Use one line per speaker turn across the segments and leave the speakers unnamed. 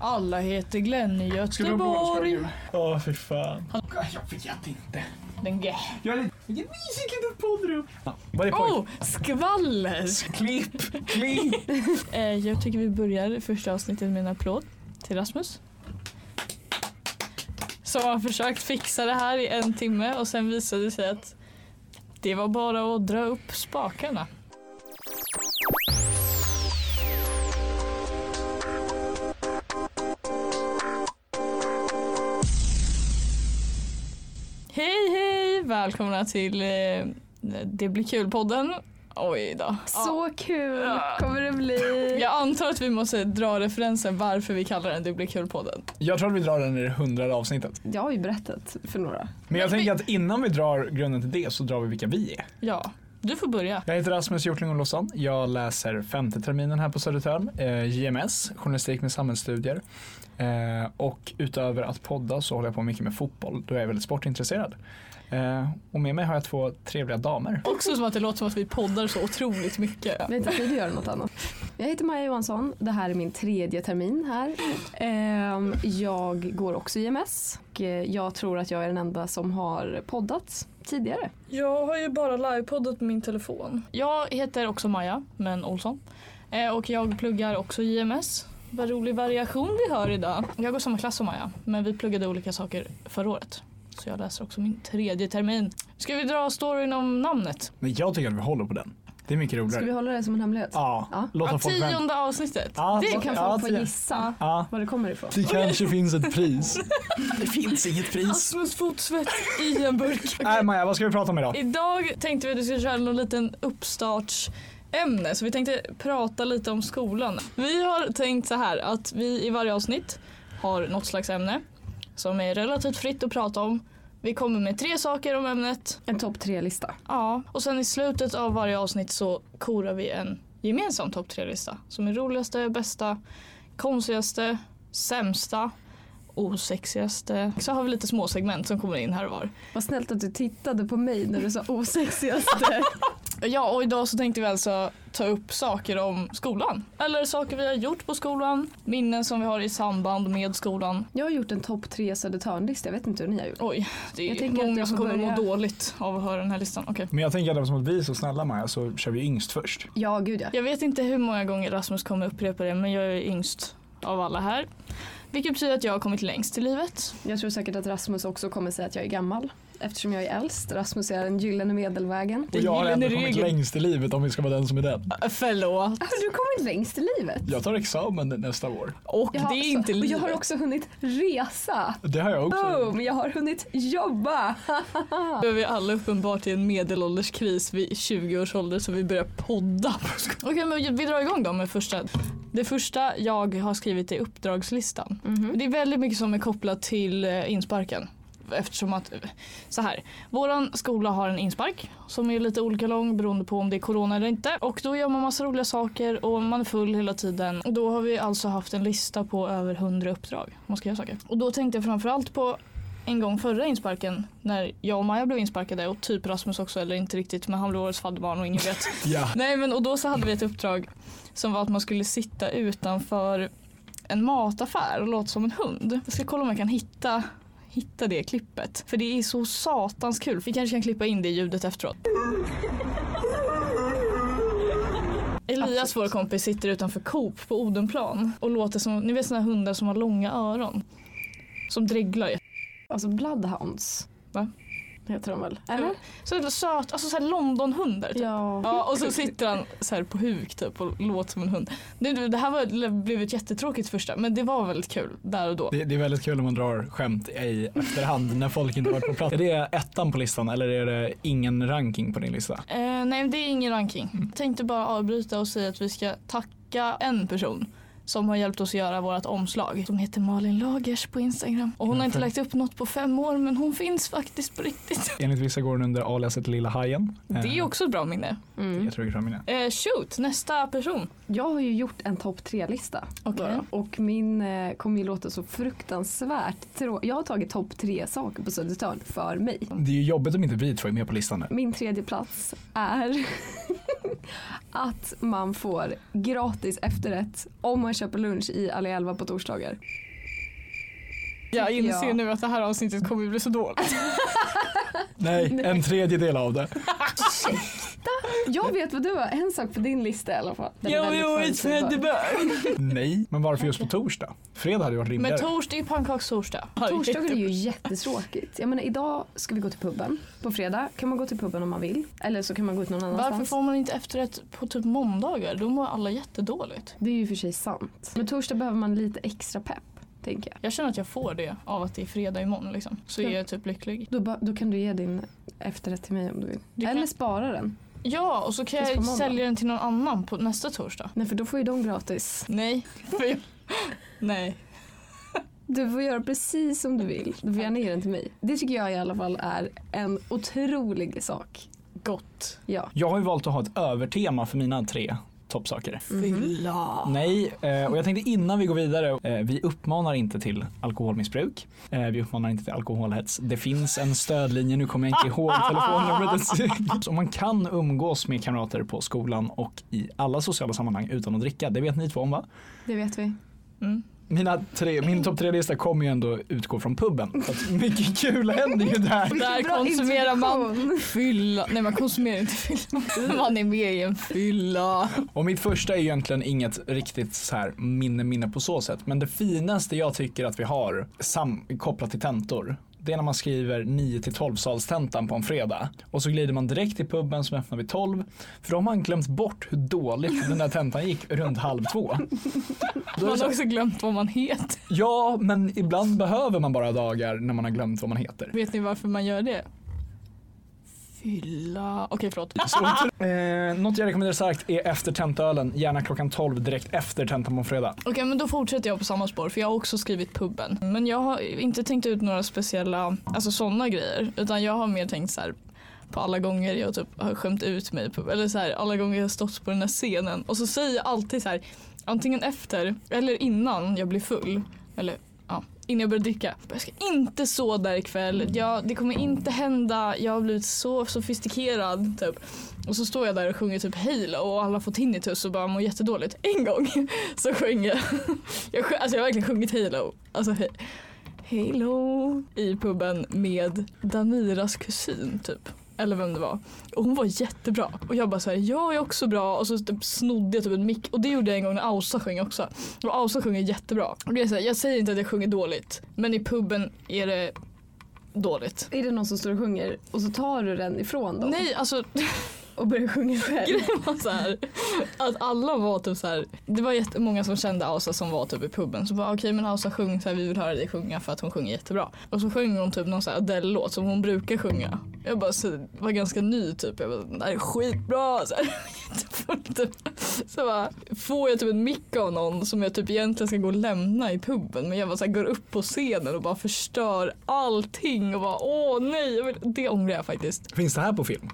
Alla heter Glenn i
Ska du ha
Göteborg.
blåskalljud?
Åh, fy fan.
Jag vet inte.
Den gä.
Jag är lite... Vilket mysigt litet poddrum.
Vad är poängen?
Oh, skvaller!
Klipp, klipp.
Eh, jag tycker vi börjar första avsnittet med en applåd till Rasmus. Som har försökt fixa det här i en timme och sen visade det sig att det var bara att dra upp spakarna. Hej hej! Välkomna till eh, Det blir kul-podden. Oj då.
Så kul
Ja.
kommer det bli.
Jag antar att vi måste dra referensen varför vi kallar den Det blir kul-podden.
Jag tror att vi drar den i det hundrade avsnittet.
Jag har ju berättat för några.
Men jag
Men vi-
tänker att innan vi drar grunden till det så drar vi vilka vi är.
Ja, du får börja.
Jag heter Rasmus Hjortling Olofsson. Jag läser femte terminen här på Södertörn, eh, JMS, journalistik med samhällsstudier. Eh, och utöver att podda så håller jag på mycket med fotboll, då är jag väldigt sportintresserad. Eh, och med mig har jag två trevliga damer.
Också som att det låter som att vi poddar så otroligt mycket.
Vi har inte tid att göra något annat. Jag heter Maja Johansson. Det här är min tredje termin här. Ehm, Jag går också IMS. Och, eh, Jag tror att jag är den enda som har poddat tidigare.
Jag har ju bara livepoddat på min telefon.
Jag heter också Maja, men Olsson. Eh, och jag pluggar också JMS. Vad rolig variation vi har idag. Jag går samma klass som Maja, men vi pluggade olika saker förra året. Så jag läser också min tredje termin. Ska vi dra storyn om namnet?
Men jag tycker att vi håller på den. Det är mycket
Ska
roligare.
vi hålla det som en hemlighet?
Ja,
Ja.
låta
Ja,
folk vänta.
tionde avsnittet.
Ja,
Då
tionde-
kan
ja,
folk få
tionde.
gissa
Ja.
var det kommer ifrån.
Det kanske finns ett pris. Det finns inget pris.
Rasmus fotsvett i en burk.
Nej Maja, vad ska vi prata om idag?
Idag tänkte vi att vi skulle köra någon liten uppstartsämne så vi tänkte prata lite om skolan. Vi har tänkt så här att vi i varje avsnitt har något slags ämne som är relativt fritt att prata om. Vi kommer med tre saker om ämnet.
En topp tre-lista.
Ja. Och sen i slutet av varje avsnitt så korar vi en gemensam topp tre-lista som är roligaste, bästa, konstigaste, sämsta, osexigaste. Så har vi lite små segment som kommer in här och var.
Vad snällt att du tittade på mig när du sa osexigaste.
Ja, och idag så tänkte vi alltså ta upp saker om skolan. Eller saker vi har gjort på skolan, minnen som vi har i samband med skolan.
Jag har gjort en topp tre Södertörnlista. Jag vet inte hur ni har gjort.
Oj, det
Jag
är
tänker att
många
jag
som
får
kommer må
börja.
dåligt av att höra den här listan. Okej.
Men jag tänker att eftersom att vi är så snälla Maja så kör vi yngst först.
Ja, gud ja.
Jag vet inte hur många gånger Rasmus kommer upprepa det, men jag är yngst av alla här. Vilket betyder att jag har kommit längst i livet.
Jag tror säkert att Rasmus också kommer säga att jag är gammal. Eftersom jag är äldst. Rasmus är den gyllene medelvägen.
Och jag har
gyllene
ändå kommit
regeln.
längst i livet om vi ska vara den som är den.
Äh, Förlåt.
Alltså du kommer längst i livet.
Jag tar examen nästa år.
Och
Jag har
det är
också-
inte
och
livet.
Jag har också hunnit resa.
Det har jag också.
Boom! Jag har hunnit jobba.
Nu är vi alla uppenbart i en medelålderskris vid 20 års ålder så vi börjar podda. Okej men vi drar igång då med första. Det första jag har skrivit är uppdragslistan.
Mhm.
Det är väldigt mycket som är kopplat till eh, insparken. Eftersom att, eh, så här, våran skola har en inspark som är lite olika lång beroende på om det är corona eller inte. Och då gör man massa roliga saker och man är full hela tiden. Och då har vi alltså haft en lista på över 100 uppdrag man ska göra saker. Och då tänkte jag framförallt på en gång förra insparken när jag och Maja blev insparkade och typ Rasmus också eller inte riktigt men han blev årets fadderbarn och ingen vet.
Ja.
Nej men och då så hade vi ett uppdrag som var att man skulle sitta utanför en mataffär och låta som en hund. Jag ska kolla om jag kan hitta hitta det klippet. För det är så satans kul. Vi kanske kan klippa in det ljudet efteråt. Elias, vår kompis, sitter utanför Coop på Odenplan och låter som, ni vet såna här hundar som har långa öron. Som dreglar
Alltså bloodhounds.
Va?
Heter de väl? Eller?
Så jävla söt, alltså såhär Londonhundar. Typ.
Ja.
Ja, och så sitter han så här på huk typ och låter som en hund. Det, det här var, blev ett jättetråkigt första men det var väldigt kul där och då.
Det, det är väldigt kul om man drar skämt i efterhand när folk inte varit på plats. Är det ettan på listan eller är det ingen ranking på din lista?
Eh, nej det är ingen ranking. Tänkte bara avbryta och säga att vi ska tacka en person som har hjälpt oss göra vårt omslag. Som heter Malin Lagers på Instagram. Och hon har inte lagt upp något på fem år men hon finns faktiskt på riktigt.
Enligt vissa går den under aliaset Lilla Hajen. Eh,
Det är också ett bra minne.
Mm.
Jag tror jag fram mina.
Eh, shoot, nästa person.
Jag har ju gjort en topp tre-lista.
Okej.
bara. Och min eh, kommer ju låta så fruktansvärt trå- Jag har tagit topp tre saker på Södertörn för mig.
Mm.
Det är ju jobbigt om inte vi två är med på listan nu.
Min tredje plats är att man får gratis efterrätt om man köper lunch i Alla elva på torsdagar.
Jag
Tycker
inser
jag.
nu att det här avsnittet kommer bli så dåligt.
Nej, en tredjedel av det.
Jag vet vad du har, en sak på din lista i alla fall. Den är väldigt förutsägbar.
Nej, men varför just på torsdag? Fredag hade ju varit
Men
rimligare.
torsdag är pannkakstorsdag.
Torsdagar är ju jättetråkigt. Jag menar idag ska vi gå till puben. På fredag kan man gå till puben om man vill. Eller så kan man gå ut någon annanstans.
Varför får man inte efterrätt på typ måndagar? Då mår alla jättedåligt.
Det är ju i och för sig sant. Men torsdag behöver man lite extra pepp, tänker jag.
Jag känner att jag får det av att det är fredag imorgon liksom. Så
Ja.
är jag typ lycklig.
Då, ba- då kan du ge din efterrätt till mig om du vill.
Du
Eller
kan-
spara den.
Ja, och så kan
Tills
jag
på måndag.
sälja den till någon annan på nästa torsdag.
Nej, för då får ju de gratis.
Nej. För jag... Nej.
Du får göra precis som du vill. Du får gärna ge den till mig. Det tycker jag i alla fall är en otrolig sak.
Gott.
Ja.
Jag har ju valt att ha ett övertema för mina tre toppsaker.
Fylla.
Nej, eh, och jag tänkte innan vi går vidare, eh, vi uppmanar inte till alkoholmissbruk. Eh, Vi uppmanar inte till alkoholhets. Det finns en stödlinje, nu kommer jag inte ihåg telefonnumret. ens. Så man kan umgås med kamrater på skolan och i alla sociala sammanhang utan att dricka. Det vet ni två om va?
Det vet vi.
Mm.
Mina tre, min topp tre-lista kommer ju ändå utgå från puben. Så att mycket kul händer ju där.
Där
Bra
konsumerar man
introduktion.
fylla. Nej, man konsumerar inte fylla. Man är med i en fylla.
Och mitt första är egentligen inget riktigt så här minne minne på så sätt. Men det finaste jag tycker att vi har sam- kopplat till tentor. Det är när man skriver 9 till 12 salstentan på en fredag. Och så glider man direkt till puben som öppnar vid 12. För då har man glömt bort hur dåligt den där tentan gick runt halv två. Då är det
Man
så,
har
här,
också glömt vad man heter.
ja, men ibland behöver man bara dagar när man har glömt vad man heter.
Vet ni varför man gör det? Fylla. Okej, förlåt.
Så, eh, något jag rekommenderar starkt är efter tentölen, gärna klockan 12 direkt efter tentan på fredag.
Okej men då fortsätter jag på samma spår för jag har också skrivit puben. Men jag har inte tänkt ut några speciella, alltså sådana grejer. Utan jag har mer tänkt så här på alla gånger jag typ har skämt ut mig. På, eller så här, alla gånger jag har stått på den här scenen. Och så säger jag alltid så här, antingen efter eller innan jag blir full. Eller ja, innan jag börjar dricka. Jag ska inte så där ikväll. Jag, det kommer inte hända. Jag har blivit så sofistikerad typ. Och så står jag där och sjunger typ Halo och alla får tinnitus och bara mår jättedåligt. En gång så sjöng jag. Jag, sjö, alltså jag har verkligen sjungit Halo. Alltså he, Halo i puben med Damiras kusin typ. Eller vem det var. Och hon var jättebra. Och jag bara såhär, jag är också bra. Och så typ snodde jag typ en mick. Och det gjorde jag en gång när Ausa sjöng också. Och Ausa sjunger jättebra. Och det är så här, jag säger inte att jag sjunger dåligt. Men i puben är det dåligt.
Är det någon som står och sjunger och så tar du den ifrån dem
Nej, alltså
och börjar sjunga själv?
grejen var så här, att alla var typ så här. Det var jättemånga som kände Ausa som var typ i puben. Så bara okej men Ausa sjung så här, vi vill höra dig sjunga för att hon sjunger jättebra. Och så sjöng hon typ någon så här Adele-låt som hon brukar sjunga. Jag bara så, var ganska ny typ. Jag bara det här är skitbra. Så här, jättefull, typ. så bara, får jag typ en mick av någon som jag typ egentligen ska gå och lämna i puben. Men jag bara så här, går upp på scenen och bara förstör allting och bara åh nej. Jag vill, det ångrar jag faktiskt.
Finns det här på film?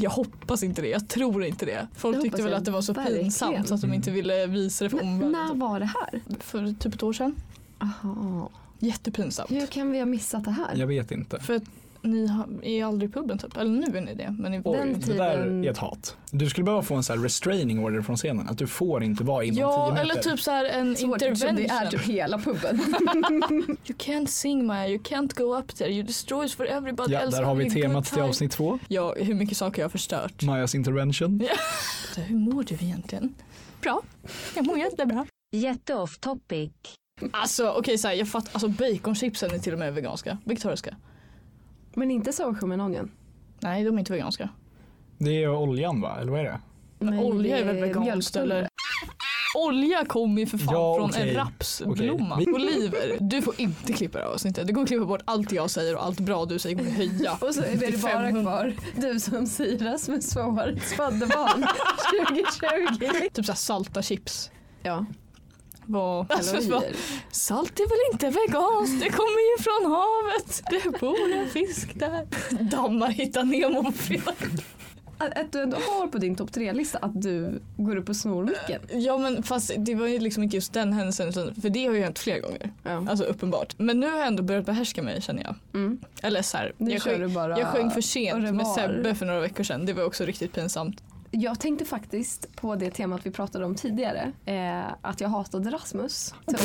Jag hoppas inte det, jag tror inte det. Folk
Det
tyckte
hoppas
väl
jag
att det var så
verkligen.
pinsamt så att de inte ville visa det för
Men när
omvärlden.
var det här?
För typ ett år sedan.
Aha.
Jättepinsamt.
Hur kan vi ha missat det här?
Jag vet inte.
För att ni har, är aldrig i puben typ, eller nu är ni det. Men ni var
Den
ju-
Det där
tiden-
är ett hat. Du skulle behöva få en sån här restraining order från scenen. Att du får inte vara inom 10
Ja
meter.
eller typ så här en intervention.
hela puben.
You can't sing Maja, you can't go up there, you destroys for everybody
Ja,
else.
där har vi
having a
temat
good
till
time.
avsnitt två.
Ja, hur mycket saker jag har förstört.
Majas intervention.
Så hur mår du egentligen? Bra. Jag mår jättebra.
Jätte off topic.
Alltså okej så här, jag fattar, alltså baconchipsen är till och med veganska, vegetariska.
Men inte sour med onion.
Nej de är inte veganska.
Det är oljan va? Eller vad är det?
Men
Nej,
olja är väl
det är
veganskt
mjölkpulver.
eller? Olja kommer ju för fan
Ja,
från
okej.
en rapsblomma.
Okej.
Oliver, du får inte klippa det här avsnittet. Du kommer klippa bort allt jag säger och allt bra du säger kommer jag höja.
Och så är
till
det bara
500.
kvar du som Siras med svårets fadderbarn 2020.
Typ såhär salta chips.
Ja,
Vad? Alltså, bara,
kalorier.
salt är väl inte veganskt? Det kommer ju från havet. Det bor en fisk där. Dammar hittar Nemo på fredag.
Att, att du ändå har på din topp tre-lista att du går upp och snor micken.
Ja men fast det var ju liksom inte just den händelsen utan- för det har ju hänt flera gånger.
Ja.
Alltså uppenbart. Men nu har jag ändå börjat behärska mig känner jag.
Mm.
Eller såhär,
Nu
jag
kör
sjöng-
du bara
Jag sjöng för
och det
sent med
var-
Sebbe för några veckor sedan. Det var också riktigt pinsamt.
Jag tänkte faktiskt på det temat vi pratade om tidigare. Eh, att jag hatade Rasmus. Så det,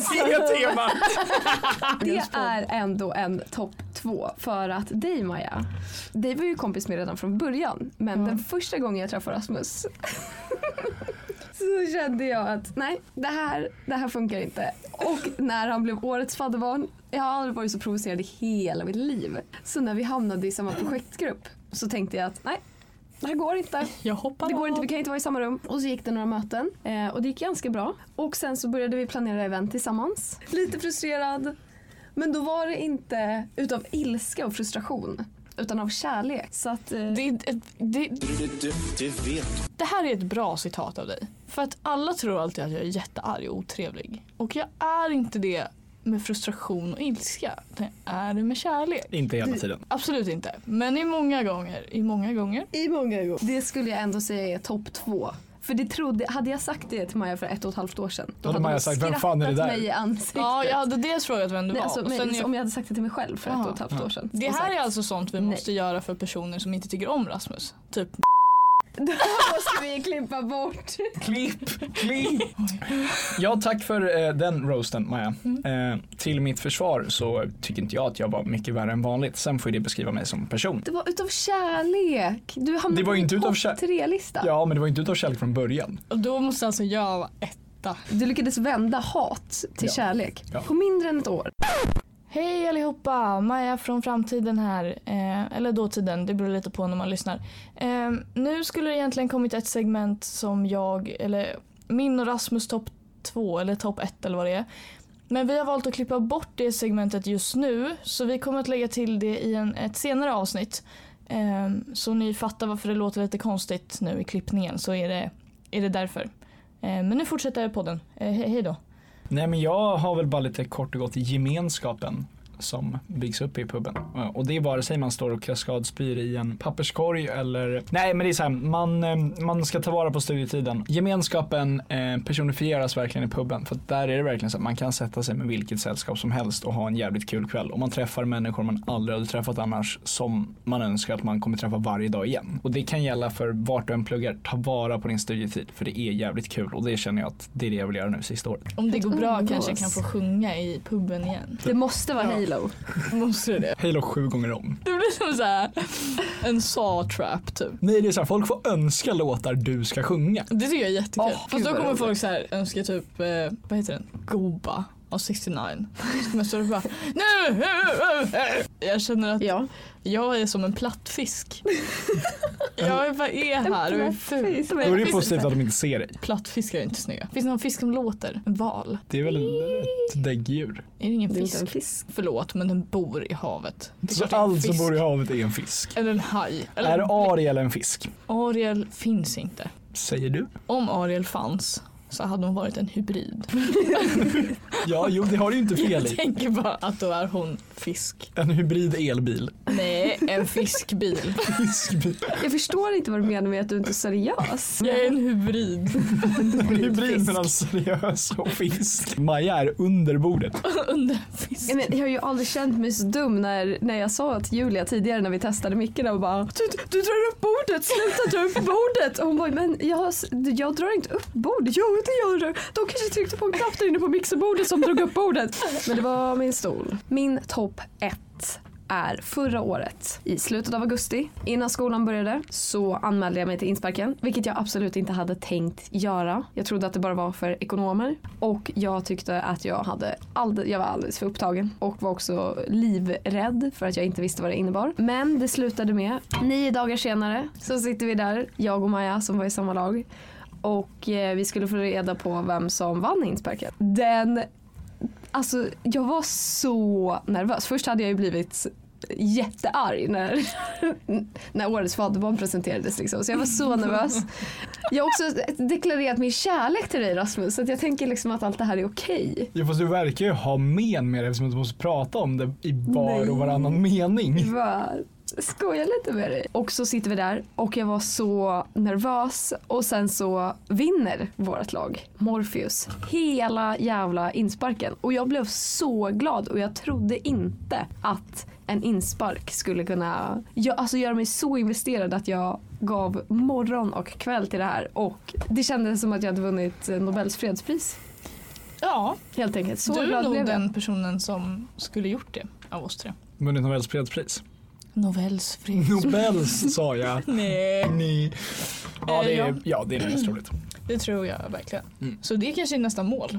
Det temat!
det är ändå en topp två. För att dig Maja, dig var ju kompis med redan från början. Men
Ja.
den första gången jag träffade Rasmus så kände jag att nej, det här, det här funkar inte. Och när han blev årets fadderbarn, jag har aldrig varit så provocerad i hela mitt liv. Så när vi hamnade i samma projektgrupp så tänkte jag att nej, det här går inte.
Jag hoppar
Det går inte,
av.
vi kan inte vara i samma rum. Och så gick det några möten eh, och det gick ganska bra. Och sen så började vi planera event tillsammans. Lite frustrerad. Men då var det inte utav ilska och frustration. Utan av kärlek. Så att, eh,
Det, är ett- det, det här är ett bra citat av dig. För att alla tror alltid att jag är jättearg och otrevlig. Och jag är inte det med frustration och ilska. Jag är det med kärlek.
Inte hela tiden.
Absolut inte. Men i många gånger. I många gånger.
I många gånger. Det skulle jag ändå säga är topp två. För det trodde, hade jag sagt det till Maja för ett och ett halvt år sedan.
Då hade Maja
hon
sagt, "Vem fan är det
skrattat
där?"
mig i ansiktet.
Ja, jag hade dels frågat vem du
Nej,
var.
alltså,
och
men,
sen är jag-
Om jag hade sagt det till mig själv för ett
Ja.
och ett halvt år sedan.
det
Och
här
sagt,
är alltså sånt vi
nej.
måste göra för personer som inte tycker om Rasmus. Typ
Det här måste vi klippa bort.
Klipp, klipp.
Ja, tack för eh, den roasten Maja.
Mm.
Eh, till mitt försvar så tycker inte jag att jag var mycket värre än vanligt. Sen får ju det beskriva mig som person.
Det var utav kärlek. Du hamnade
Det var
på
inte
min
utav
topp
kär-
tre-lista.
Ja, men det var ju inte utav kärlek från början.
Och då måste alltså jag vara etta.
Du lyckades vända hat till
Ja.
kärlek
Ja.
på mindre än ett år.
Hej allihopa! Maja från framtiden här. Eh, eller dåtiden, det beror lite på när man lyssnar. Eh, nu skulle det egentligen kommit ett segment som jag, eller min och Rasmus topp 2 eller topp 1 eller vad det är. Men vi har valt att klippa bort det segmentet just nu så vi kommer att lägga till det i en, ett senare avsnitt. Eh, så ni fattar varför det låter lite konstigt nu i klippningen så är det, är det därför. Eh, men nu fortsätter podden. Eh, he- hej då!
Nej, men jag har väl bara lite kort och gott gemenskapen som byggs upp i puben. Eh, Och det är vare sig man står och kaskadspyr i en papperskorg eller... Nej, men det är så här, man, eh, man ska ta vara på studietiden. Gemenskapen eh, personifieras verkligen i puben. För att där är det verkligen så att man kan sätta sig med vilket sällskap som helst och ha en jävligt kul kväll. Och man träffar människor man aldrig hade träffat annars som man önskar att man kommer träffa varje dag igen. Och det kan gälla för vart du än pluggar. Ta vara på din studietid för det är jävligt kul och det känner jag att det är det jag vill göra nu sista året.
Om det går bra
umgås.
kanske jag kan få sjunga i puben igen.
Det måste vara
Ja.
Halo.
Måste det?
Halo sju gånger om.
Det blir som så här, en Saw-trap typ.
Nej det är så här, folk får önska låtar du ska sjunga.
Det tycker jag är jättekul.
Åh, gud,
Fast då
vad
kommer
roligt.
folk så här, önska typ, eh, vad heter den? Goba av 69. Så kommer jag stå där och bara nu! eh, eh, eh." Jag känner att
Ja.
jag är som en plattfisk. jag är bara är här och är ful.
Precis.
Då är det ju positivt att de inte ser dig.
Plattfiskar är inte snygga. Finns det någon fisk som låter? En val.
Det är väl ett däggdjur.
Är det ingen
Det är inte
fisk?
en fisk.
Förlåt men den bor i havet. Det är
Så
klart det är en
allt som
fisk.
bor i havet är en fisk.
Eller en haj. Eller
Är Ariel en fisk?
Ariel finns inte.
Säger du?
Om Ariel fanns så hade hon varit en hybrid.
Ja, jo det har du ju inte fel
Jag
i.
tänker bara att då är hon fisk.
En hybrid elbil.
Nej, en fiskbil.
Fiskbil.
Jag förstår inte vad du menar med att du inte är seriös.
Jag är en hybrid.
En hybrid mellan seriös och fisk. Maja är under bordet.
Under fisk.
Jag, men, jag har ju aldrig känt mig så dum när, när jag sa till Julia tidigare när vi testade mickarna och bara du, du drar upp bordet, sluta dra upp bordet! Och hon bara men jag, har s- jag drar inte upp bordet, jo det gör du! De kanske tryckte på en knapp där inne på mixerbordet som drog upp bordet. Men det var min stol. Min topp ett är förra året. I slutet av augusti, innan skolan började, så anmälde jag mig till insparken. Vilket jag absolut inte hade tänkt göra. Jag trodde att det bara var för ekonomer. Och jag tyckte att jag, hade alldeles, jag var alldeles för upptagen. Och var också livrädd för att jag inte visste vad det innebar. Men det slutade med, nio dagar senare, så sitter vi där, jag och Maja som var i samma lag. Och eh, vi skulle få reda på vem som vann insparken. Den Alltså jag var så nervös. Först hade jag ju blivit jättearg när, när årets fadderbarn presenterades. Liksom. Så jag var så nervös. Jag har också deklarerat min kärlek till dig Rasmus. Så att jag tänker liksom att allt det här är okej.
Jo fast du verkar ju ha men med det eftersom du måste prata om det i var och varannan mening.
Va? skoja lite med dig. Och så sitter vi där och jag var så nervös och sen så vinner vårt lag Morpheus hela jävla insparken och jag blev så glad och jag trodde inte att en inspark skulle kunna jag, alltså göra mig så investerad att jag gav morgon och kväll till det här och det kändes som att jag hade vunnit Nobels fredspris
Ja,
helt enkelt. Så
du är
glad
nog
blev jag.
den personen som skulle gjort det av oss tre.
Vunnit Nobels fredspris.
Novells fred.
Nobels sa jag.
Nej,
Ni. Ja, det
Eh, ja.
är, ja, det är mest roligt.
det tror jag verkligen.
Mm.
Så det kanske är nästa mål.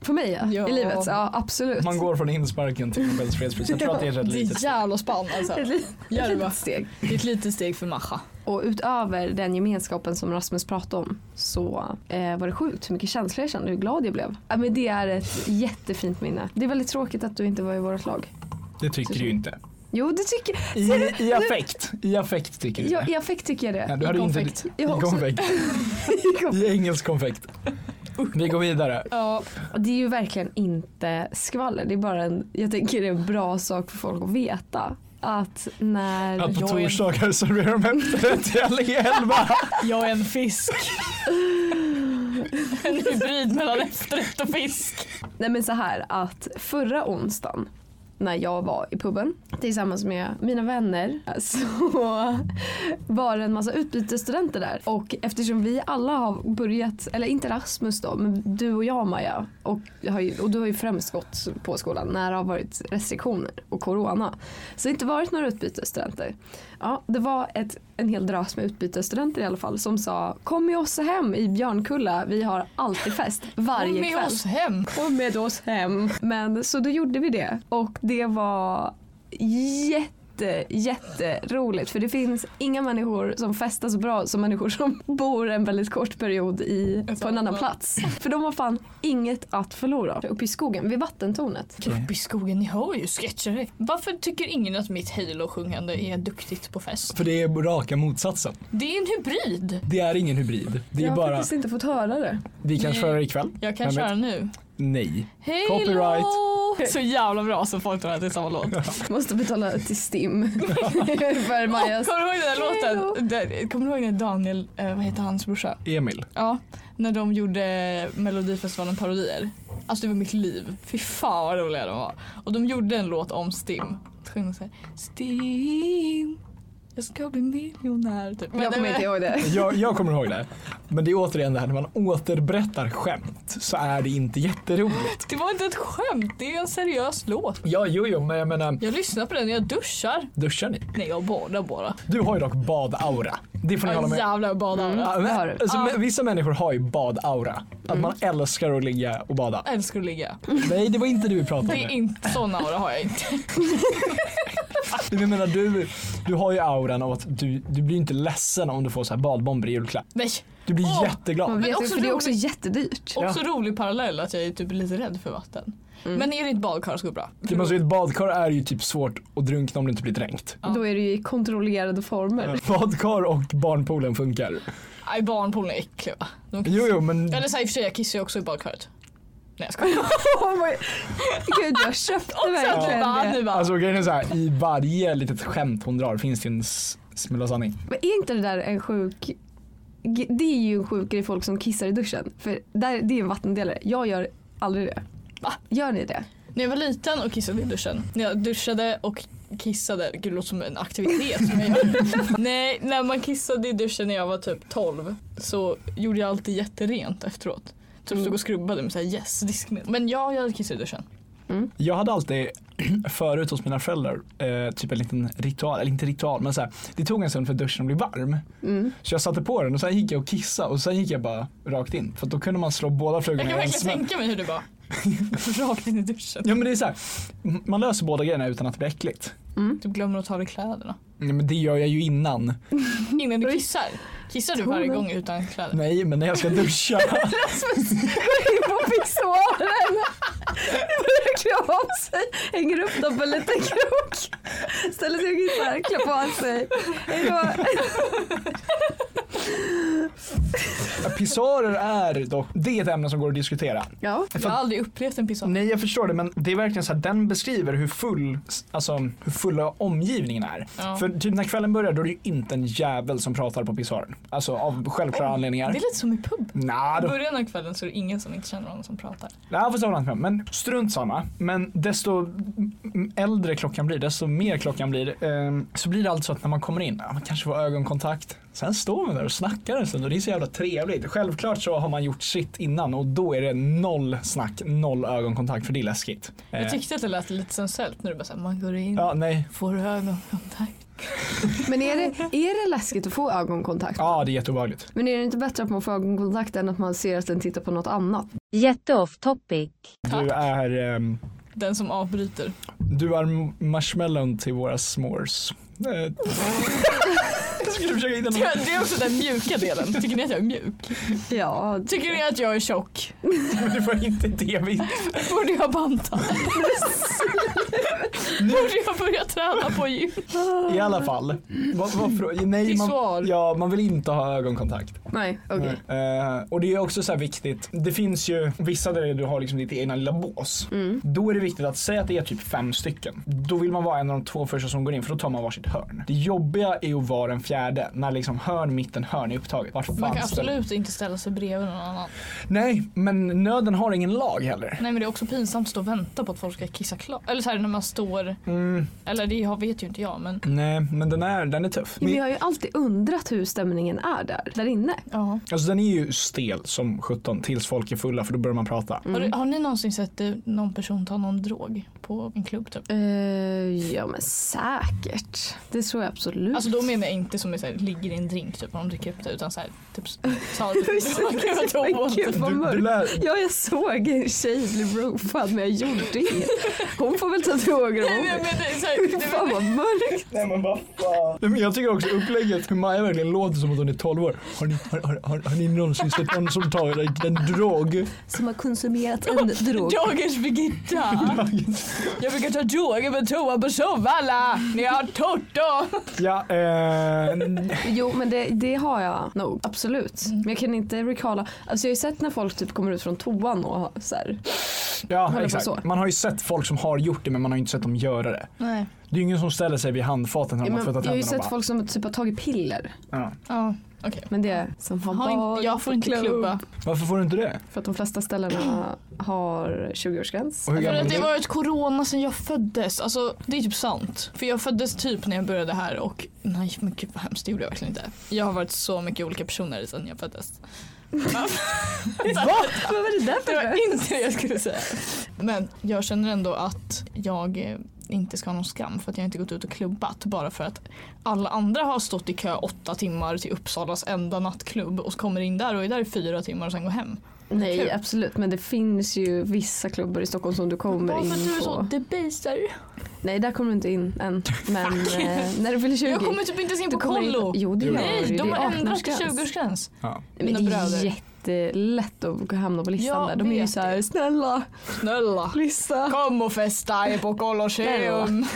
För mig ja,
Ja.
i livet. Ja absolut.
Man går från insparken till Nobels fredspris. Jag tror att det är ett rätt
Det är
litet
ett jävla spann alltså.
Ett litet-
Gör det
ett
bara.
litet steg.
Det är ett litet steg för Macha.
Och utöver den gemenskapen som Rasmus pratade om så eh, var det sjukt hur mycket känslor jag kände, hur glad jag blev. Ja, men det är ett jättefint minne. Det är väldigt tråkigt att du inte var i vårt lag.
Det tycker du ju inte.
Jo, det tycker
I, i affekt. I affekt tycker du
jag.
det.
I affekt tycker jag
Ja,
det.
du hade inte
Konfekt.
I
Jag har också-
konfekt. I engelsk konfekt. Vi går vidare.
Ja,
Det är ju verkligen inte skvaller. Det är bara en, jag tänker det är en bra sak för folk att veta. Att när...
Att på
Jag är-
torsdagar serverar de efterrätt till alla i elva.
jag är en fisk. en hybrid mellan efterrätt och fisk.
Nej men så här att förra onsdagen när jag var i puben tillsammans med mina vänner så var det en massa utbytesstudenter där. Och eftersom vi alla har börjat, eller inte Rasmus då, men du och jag Maja och, jag har ju, och du har ju främst gått på skolan när det har varit restriktioner och corona. Så det har inte varit några utbytesstudenter. Ja, det var ett, en hel drös med utbytesstudenter i alla fall som sa kom med oss hem i Björnkulla, vi har alltid fest varje
Och med
kväll.
oss hem.
Och med oss hem. Men så då gjorde vi det och det var jätte, jätteroligt för det finns inga människor som festar så bra som människor som bor en väldigt kort period i, på en annan plats. För de har fan inget att förlora. Uppe i skogen vid vattentornet.
Upp i skogen, ni hör ju sketcher. Varför tycker ingen att mitt halo-sjungande är duktigt på fest?
För det är raka motsatsen.
Det är en hybrid.
Det är ingen hybrid. Det
jag
är
har
bara,
faktiskt inte fått höra det.
vi kan
Nej.
köra det ikväll.
Jag kan
Vem vet?
köra nu.
Nej.
Halo!
Copyright.
Så jävla bra som folk tror att det är samma låt.
Måste betala till STIM för Majas.
Kommer du ihåg den där
Halo.
låten? Där- Kommer du ihåg när Daniel, eh, vad heter hans brorsa?
Emil.
Ja, när de gjorde Melodifestivalen parodier. Alltså det var mitt liv. Fy fan vad roliga de var. Och de gjorde en låt om Stim. Så sjöng de såhär Stim, jag ska bli miljonär. Typ. Men
Jag kommer
det-
inte ihåg det.
Jag, jag kommer ihåg det. Men det är återigen det här när man återberättar skämt så är det inte jätteroligt.
Det var inte ett skämt, det är en seriös låt.
Ja, jo, jo, men jag menar,
Jag lyssnar på den när jag duschar.
duschar ni?
Nej, jag badar bara.
Du har ju dock badaura. Det får ni hålla
Jag
med
jävlar jag badar.
Mm.
Ja, men-
Det har du.
alltså,
Ja. Mm.
men Vissa människor har ju badaura. Att man älskar att ligga och bada.
Jag älskar att ligga.
Nej, det var inte det vi pratade
Det
om.
är
nu.
inte sån aura har jag inte.
Men Jag menar, du, du har ju auran av att du, du blir inte ledsen om du får så här badbomber i julklapp.
Nej.
Du blir
Åh!
Man
jätteglad.
vet ju,
också
för det är också
roligt.
jättedyrt.
Också rolig parallell att jag är typ lite rädd för vatten. Men är ditt badkar så går det bra.
Det måste, ju- Typ, alltså, ett badkar är ju typ svårt att drunkna om du inte blir dränkt.
Ja.
Då är det ju i kontrollerade former.
Badkar och barnpoolen funkar.
Nej barnpoolen är äcklig va? De
Jo, jo, men
Eller såhär i och för sig, jag kissar ju också i badkaret. Nej jag skojar.
Oh my... Gud jag köpte verkligen
Nu bara,
det.
nu bara.
alltså, grejen är så här, i varje litet skämt hon drar finns det en s- smula sanning.
Men är inte det där en sjuk G- Det är ju en sjuk grej folk som kissar i duschen. För där, det är en vattendelare. Jag gör aldrig det.
Va?
Gör ni det?
När jag var liten och kissade i duschen. När jag duschade och kissade, gud det låter som en aktivitet som jag gör. Nej, när man kissade i duschen när jag var typ 12 så gjorde jag alltid jätterent efteråt.
Mm.
Typ stod och skrubbade med såhär yes, diskmedel. Men ja, jag kissade i duschen.
Jag hade alltid förut hos mina föräldrar eh, typ en liten ritual, eller inte ritual men så här, det tog en stund för duschen att bli varm.
Mm.
Så jag satte på den och sen gick jag och kissade och sen gick jag bara rakt in. För att då kunde man slå båda
Jag kan
flugorna i en
verkligen
smäll.
tänka mig hur det var. Rakt in i duschen.
Ja men det är så här, m- man löser båda grejerna utan att det blir äckligt.
Mm.
Du Typ glömmer att ta av dig kläderna.
Nej, men det gör jag ju innan.
Innan du kissar. Kissar du varje gång utan kläder?
Nej men när jag ska duscha.
På pixåren! Börjar klä av sig. Hänger upp dem på en liten krok. Ställer sig och kissar. Klär på sig. Hejdå.
Pissoarer är dock, det är ett ämne som går att diskutera.
Ja.
Jag har aldrig upplevt en pissoar.
Nej jag förstår det men det är verkligen så här, den beskriver hur full, alltså hur fulla omgivningen är.
Ja.
För typ när kvällen börjar då är det ju inte en jävel som pratar på pissoaren. Alltså av självklara anledningar.
Det är lite som i pub.
Nja,
I
då-
början av kvällen så är det ingen som inte känner någon som pratar.
Ja, fast det håller jag inte med om. Men strunt samma. Men desto m- äldre klockan blir, desto mer klockan blir, ehm, så blir det alltså att när man kommer in, ja, man kanske får ögonkontakt. Sen står man där och snackar en stund och det är så jävla trevligt. Självklart så har man gjort sitt innan och då är det noll snack, noll ögonkontakt för det är läskigt. Eh,
Jag tyckte att det lät lite sensuellt när du bara såhär, man går in,
ja, nej.
får ögonkontakt.
Men är det, är det läskigt att få ögonkontakt?
Ja, det är jätteobehagligt.
Men är det inte bättre att man får ögonkontakt än att man ser att den tittar på något annat?
Jätte off topic.
Du är, ehm,
Den som avbryter.
du är m- marshmallown till våra s'mores. Eh, jag skulle försöka hitta något.
Det är också den mjuka delen. Tycker ni att jag är mjuk?
Ja,
Tycker ni att jag är tjock?
Men det var inte det vi
Borde jag banta? Borde jag börja träna på gym?
I alla fall. Vad- vad frå- nej,
Till
man,
svar.
ja, man vill inte ha ögonkontakt.
nej okej.
Eh, och det är också så här viktigt. Det finns ju vissa där du har liksom ditt egna lilla bås.
Mm.
Då är det viktigt att säga att det är typ fem stycken. Då vill man vara en av de två första som går in för då tar man varsitt hörn. Det jobbiga är att vara den fjärde när liksom hörn, mitten, hörn är upptaget. Vart fan
Man kan
ställer-
absolut inte ställa sig bredvid någon annan.
Nej, men nöden har ingen lag heller.
Nej men det är också pinsamt att stå och vänta på att folk ska kissa klart. Eller såhär när man står,
Mm,
eller det har- vet ju inte jag men.
nej, men den är, den är tuff.
Ja, Men jag har ju alltid undrat hur stämningen är där, där inne.
Ja.
Alltså den är ju stel som 17 tills folk är fulla för då börjar man prata.
Mm.
Har, du, har ni någonsin sett eh, någon person ta någon drog på en klubb typ?
Eh, ja men säkert. Det tror jag absolut.
Alltså då menar jag inte som är såhär, ligger i en drink typ och de dricker upp det utan såhär typ tar det
Men gud, vad
Du, du
mörkt.
lär,
Ja, jag såg en tjej bli roofad men jag gjorde det. Hon får väl ta droger om hon vill. Fy Fan vad mörkt.
Nej, men jag tycker också upplägget, hur Maja verkligen låter som att hon är 12 år. Har ni, har, har, har, har ni någonsin sett någon som tar en drog?
Som har konsumerat en drog.
Dagens Birgitta! Jag brukar ta droger på toa på Sovalla när jag har torrt då.
Ja, eh,
Jo men det, det har jag nog, absolut. Men jag kan inte recalla. Alltså jag har ju sett när folk typ kommer ut från toan och har så här.
ja
på så.
exakt. Man har ju sett folk som har gjort det men man har ju inte sett dem göra det.
Nej.
Det är ju ingen som ställer sig vid handfaten när
Ja,
de har
men, jag
tvättat
har ju
händerna och bara,
sett folk som typ har tagit piller.
ja.
Ja, okej.
Men det som fan
Har inte-
barn
Jag får
på
inte
klubb.
klubba.
Varför får du inte det?
För att de flesta ställena har 20-årsgräns.
Och hur
För
gammal är
att det
du?
har varit corona sedan jag föddes. Alltså det är typ sant. För jag föddes typ när jag började här och nej men gud vad hemskt det gjorde jag verkligen inte. Jag har varit så mycket olika personer sedan jag föddes.
Vad var det där
Det
för
var inte det jag skulle säga. Men jag känner ändå att jag eh, inte ska ha någon skam för att jag inte gått ut och klubbat bara för att alla andra har stått i kö åtta timmar till Uppsalas enda nattklubb och så kommer in där och är där i fyra timmar och sen går hem.
Nej
Kul.
absolut men det finns ju vissa klubbar i Stockholm som du kommer
Bara
in
för att du är
på.
så debaser.
Nej där kommer du inte in än. Men eh, när du fyller 20.
Jag kommer typ inte ens in
du
på
kommer in-
kollo.
Jo det gör du.
Nej,
Det
de
är
har ändrat
18-årsgräns.
20-årsgräns.
Ja.
Men det
Mina
är
bröder.
jättelätt att hamna på listan
Jag
där. De är ju
vet
såhär
det.
snälla
Snälla.
lyssna.
Kom och festa på Colosseum.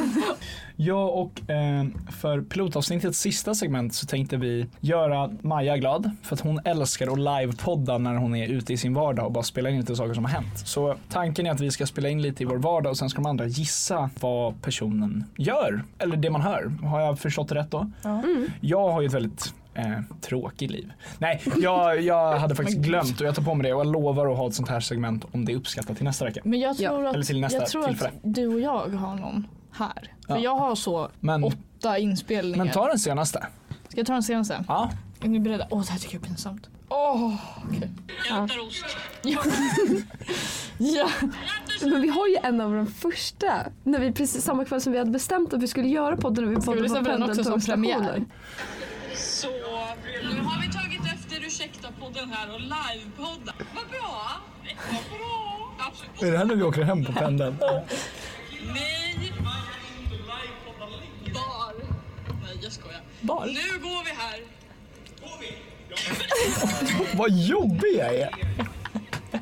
Ja och eh, för pilotavsnittets sista segment så tänkte vi göra Maja glad för att hon älskar att livepodda när hon är ute i sin vardag och bara spela in lite saker som har hänt. Så tanken är att vi ska spela in lite i vår vardag och sen ska de andra gissa vad personen gör eller det man hör. Har jag förstått det rätt då?
Mm.
Jag har ju ett väldigt Eh, tråkigt liv. Nej, jag, jag hade faktiskt glömt och jag tar på mig det och jag lovar att ha ett sånt här segment om det är uppskattat till nästa vecka.
Men jag
Ja.
tror,
Eller
att,
till nästa
jag tror att
tillfälle.
du och jag har någon här. För
Ja.
jag har så
Men,
åtta inspelningar.
men ta den senaste.
Ska jag ta den senaste?
Ja.
Är ni beredda? Åh, det här tycker jag är pinsamt. Åh, okej.
Ja.
Ja. ja.
Men vi har ju en av de första. När vi precis samma kväll som vi hade bestämt att vi skulle göra podden. och Vi
vi
poddade
lyssna
på
på den också som
pendeltågsstationer.
premiär?
Så nu har vi tagit efter Ursäkta-podden här och livepodden. Vad bra! Vad bra! Absolut.
Är det här när vi åker hem på pendeln?
Nej! Bar. Nej, jag skojar.
Bar?
Nu går vi här.
Vad jobbig jag är!
Vet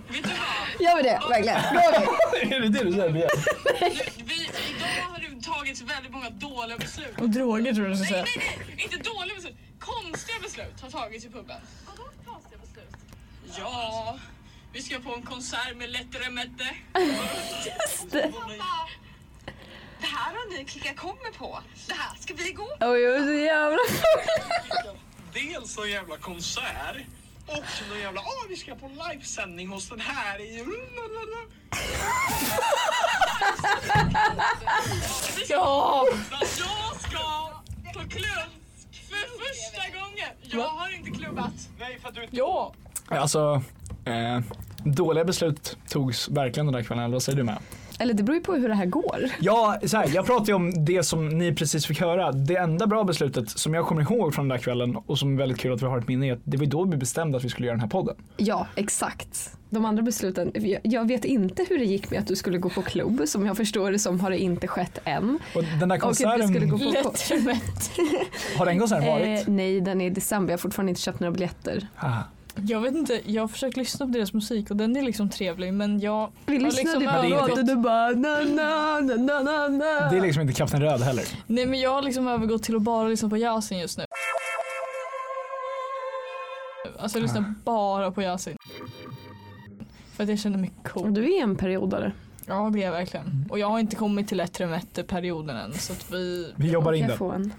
du vad?
Gör vi det verkligen? Gör vi.
är det det du säger?
Nu, vi, idag har det tagits väldigt många dåliga beslut.
Och droger tror jag du ska
Nej,
säga.
nej, nej! Inte dåliga beslut. Konstiga beslut har tagits i puben. Vadå konstiga beslut? Ja, vi ska på en konsert med Letteremette.
Just det.
Hon bara, det här har ni klickat kommer på. Det här ska vi gå
Oj, jag är så jävla
Dels någon jävla konsert och någon jävla, åh vi ska på livesändning hos den här i...
Ja!
Jag ska på klubb för första gången. Jag har inte klubbat.
Nej för att du inte...
Ja!
Alltså, eh, dåliga beslut togs verkligen den där kvällen, eller vad säger du med?
Eller det beror ju på hur det här går.
Ja, så här, jag pratar ju om det som ni precis fick höra. Det enda bra beslutet som jag kommer ihåg från den där kvällen och som är väldigt kul att vi har ett minne är att det var ju då vi bestämde att vi skulle göra den här podden.
Ja, exakt. De andra besluten, jag- jag vet inte hur det gick med att du skulle gå på klubb, som jag förstår det som har det inte skett än.
Och den där
Och att vi
konserten,
skulle gå på
Lättremette.
har den konserten varit?
Eh, nej, den är i december. Jag har fortfarande inte köpt några biljetter.
Ah.
Jag vet inte, jag har försökt lyssna på deras musik och den är liksom trevlig men jag...
Vi
Ja,
lyssnade
liksom,
på
men det är inte-
låten och du bara na na na na na na.
Det är liksom inte Kapten Röd heller.
Nej men jag har liksom övergått till att bara lyssna på Yasin just nu. Alltså jag
Ah.
lyssnar bara på Yasin. För att jag känner mig cool.
Du är en periodare.
Ja det är jag verkligen.
Mm.
Och jag har inte kommit till Lättremette-perioden än så att vi...
Vi jobbar in
Kan
den.
jag få en?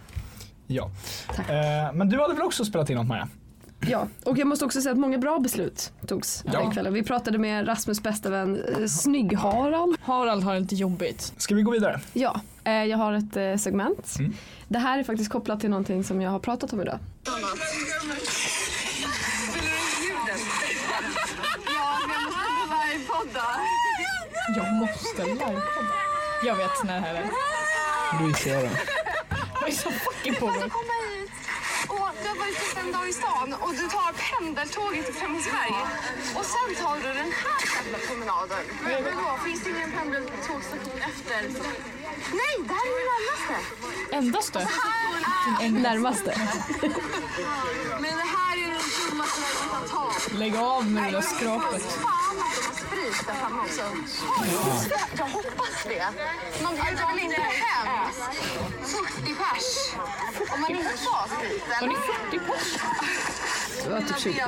Ja.
Tack.
Eh, men du hade väl också spelat in något Maja?
Ja, och jag måste också säga att många bra beslut togs den kvällen. Vi pratade med Rasmus bästa vän eh, Snygg-Harald.
Harald har det inte jobbigt.
Ska vi gå vidare?
Ja, eh, jag har ett eh, segment.
Mm.
Det här är faktiskt kopplat till någonting som jag har pratat om idag.
Jag måste livepodda. Jag vet när det här är.
Du kör den.
Vad är det som fucking pågår?
komma hit och du har varit ute en dag i stan och du tar pendeltåget till Flemingsberg och sen tar du den här jävla promenaden. Men vadå, finns det ingen pendeltågsstation efter? Nej, det här är den närmaste.
Endast det?
Närmaste.
Men det här är den dummaste vägen man kan ta.
Lägg av nu det där
Fy
skrapet.
Fan att de har sprit där framme också. Oj, Jag hoppas det. Man bjuder väl inte hem 40 pers om man inte tar
Var ni
spriten?
40 pers?
Det var typ 20.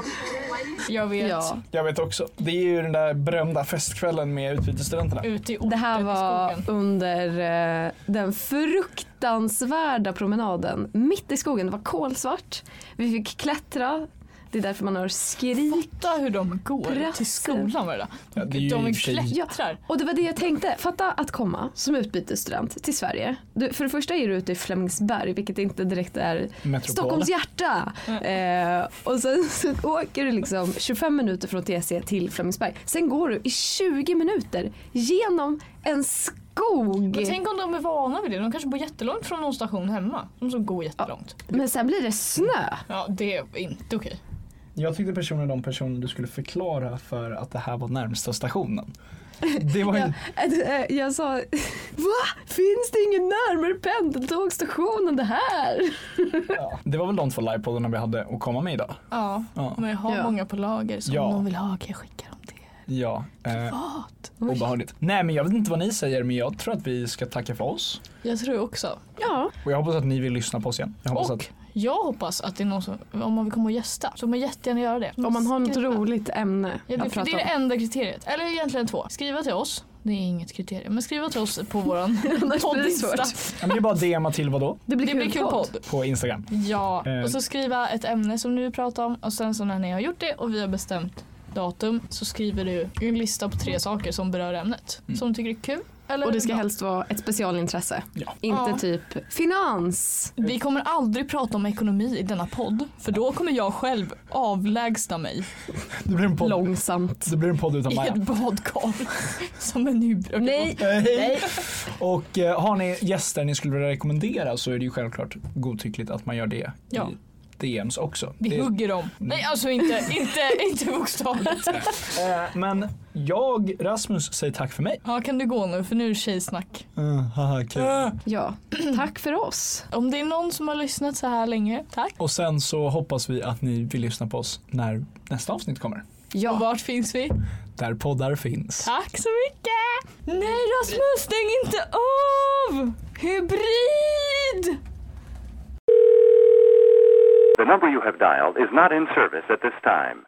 Jag vet.
Ja.
Jag vet också. Det är ju den där berömda festkvällen med utbytesstudenterna.
Ute i
Det
orten
här
i
var
skogen.
under eh, den fruktansvärda promenaden mitt i skogen. Det var kolsvart. Vi fick klättra. Det är därför man hör skrik.
Fatta hur de går till
Brasse.
skolan med det där.
Ja, det är ju i
de
och för sig-
klättrar.
Och det var det jag tänkte. Fatta att komma som utbytesstudent till Sverige. Du, för det första är du ute i Flemingsberg vilket inte direkt är
Metropol.
Stockholms hjärta.
Mm.
Eh, och sen så åker du liksom 25 minuter från TC till Flemingsberg. Sen går du i 20 minuter genom en skog.
Men tänk om de är vana vid det. De kanske bor jättelångt från någon station hemma. De som går jättelångt.
Men sen blir det snö.
Ja, det är inte okej.
Jag tyckte personen de personer du skulle förklara för att det här var närmsta stationen. Det var ju...
Jag, eh, jag sa, va? Finns det ingen närmare pendeltågsstation än det här?
Ja. Det var väl de två livepoddarna vi hade att komma med idag.
Ja,
Ja.
men jag har
Ja.
många på lager så
Ja.
om de vill ha kan jag skicka dem till er.
Ja. Eh,
Vad?
obehagligt. Nej men jag vet inte vad ni säger men jag tror att vi ska tacka för oss.
Jag tror också.
Ja,
Och jag hoppas att ni vill lyssna på oss igen. Jag hoppas
Och
att...
jag hoppas att det är någon som, om man vill komma och gästa, så får man jättegärna göra det.
om man har något
Skriva.
roligt ämne
Ja, det, för
att
det
prata
är det
om.
enda kriteriet. Eller egentligen två. Skriva till oss. Det är inget kriterium. Men skriva till oss på våran
Annars blir det svårt.
poddinsta.
Ja, men det är bara DMa till vad då?
Det blir,
Det blir kul podd.
På Instagram.
Ja,
Eh.
och så skriva ett ämne som ni vill prata om och sen så när ni har gjort det och vi har bestämt datum så skriver du en lista på tre saker som berör ämnet.
Mm.
Som du tycker är kul. Eller
Och det ska
bra.
helst vara ett specialintresse.
Ja.
Inte
Ja.
typ finans.
Vi kommer aldrig prata om ekonomi i denna podd för då kommer jag själv avlägsna mig
Det blir en podd,
Långsamt.
det blir en podd utan
i
Maja.
ett badkar som en nybrodd.
Nej,
Eh, hej.
nej.
Och eh, har ni gäster ni skulle vilja rekommendera så är det ju självklart godtyckligt att man gör det
Ja.
i DMs också.
Vi
Det- Mm.
hugger dem. Nej alltså inte, inte, inte bokstavligt.
Eh, Men jag, Rasmus, säger tack för mig.
Ja kan du gå nu för nu är det tjejsnack.
Uh, haha, kul.
Ja, tack för oss.
Om det är någon som har lyssnat så här länge, tack.
Och sen så hoppas vi att ni vill lyssna på oss när nästa avsnitt kommer.
Och
Ja,
vart finns vi?
Där poddar finns.
Tack så mycket! Nej Rasmus, stäng inte av! Hybrid!
The number you have dialed is not in service at this time.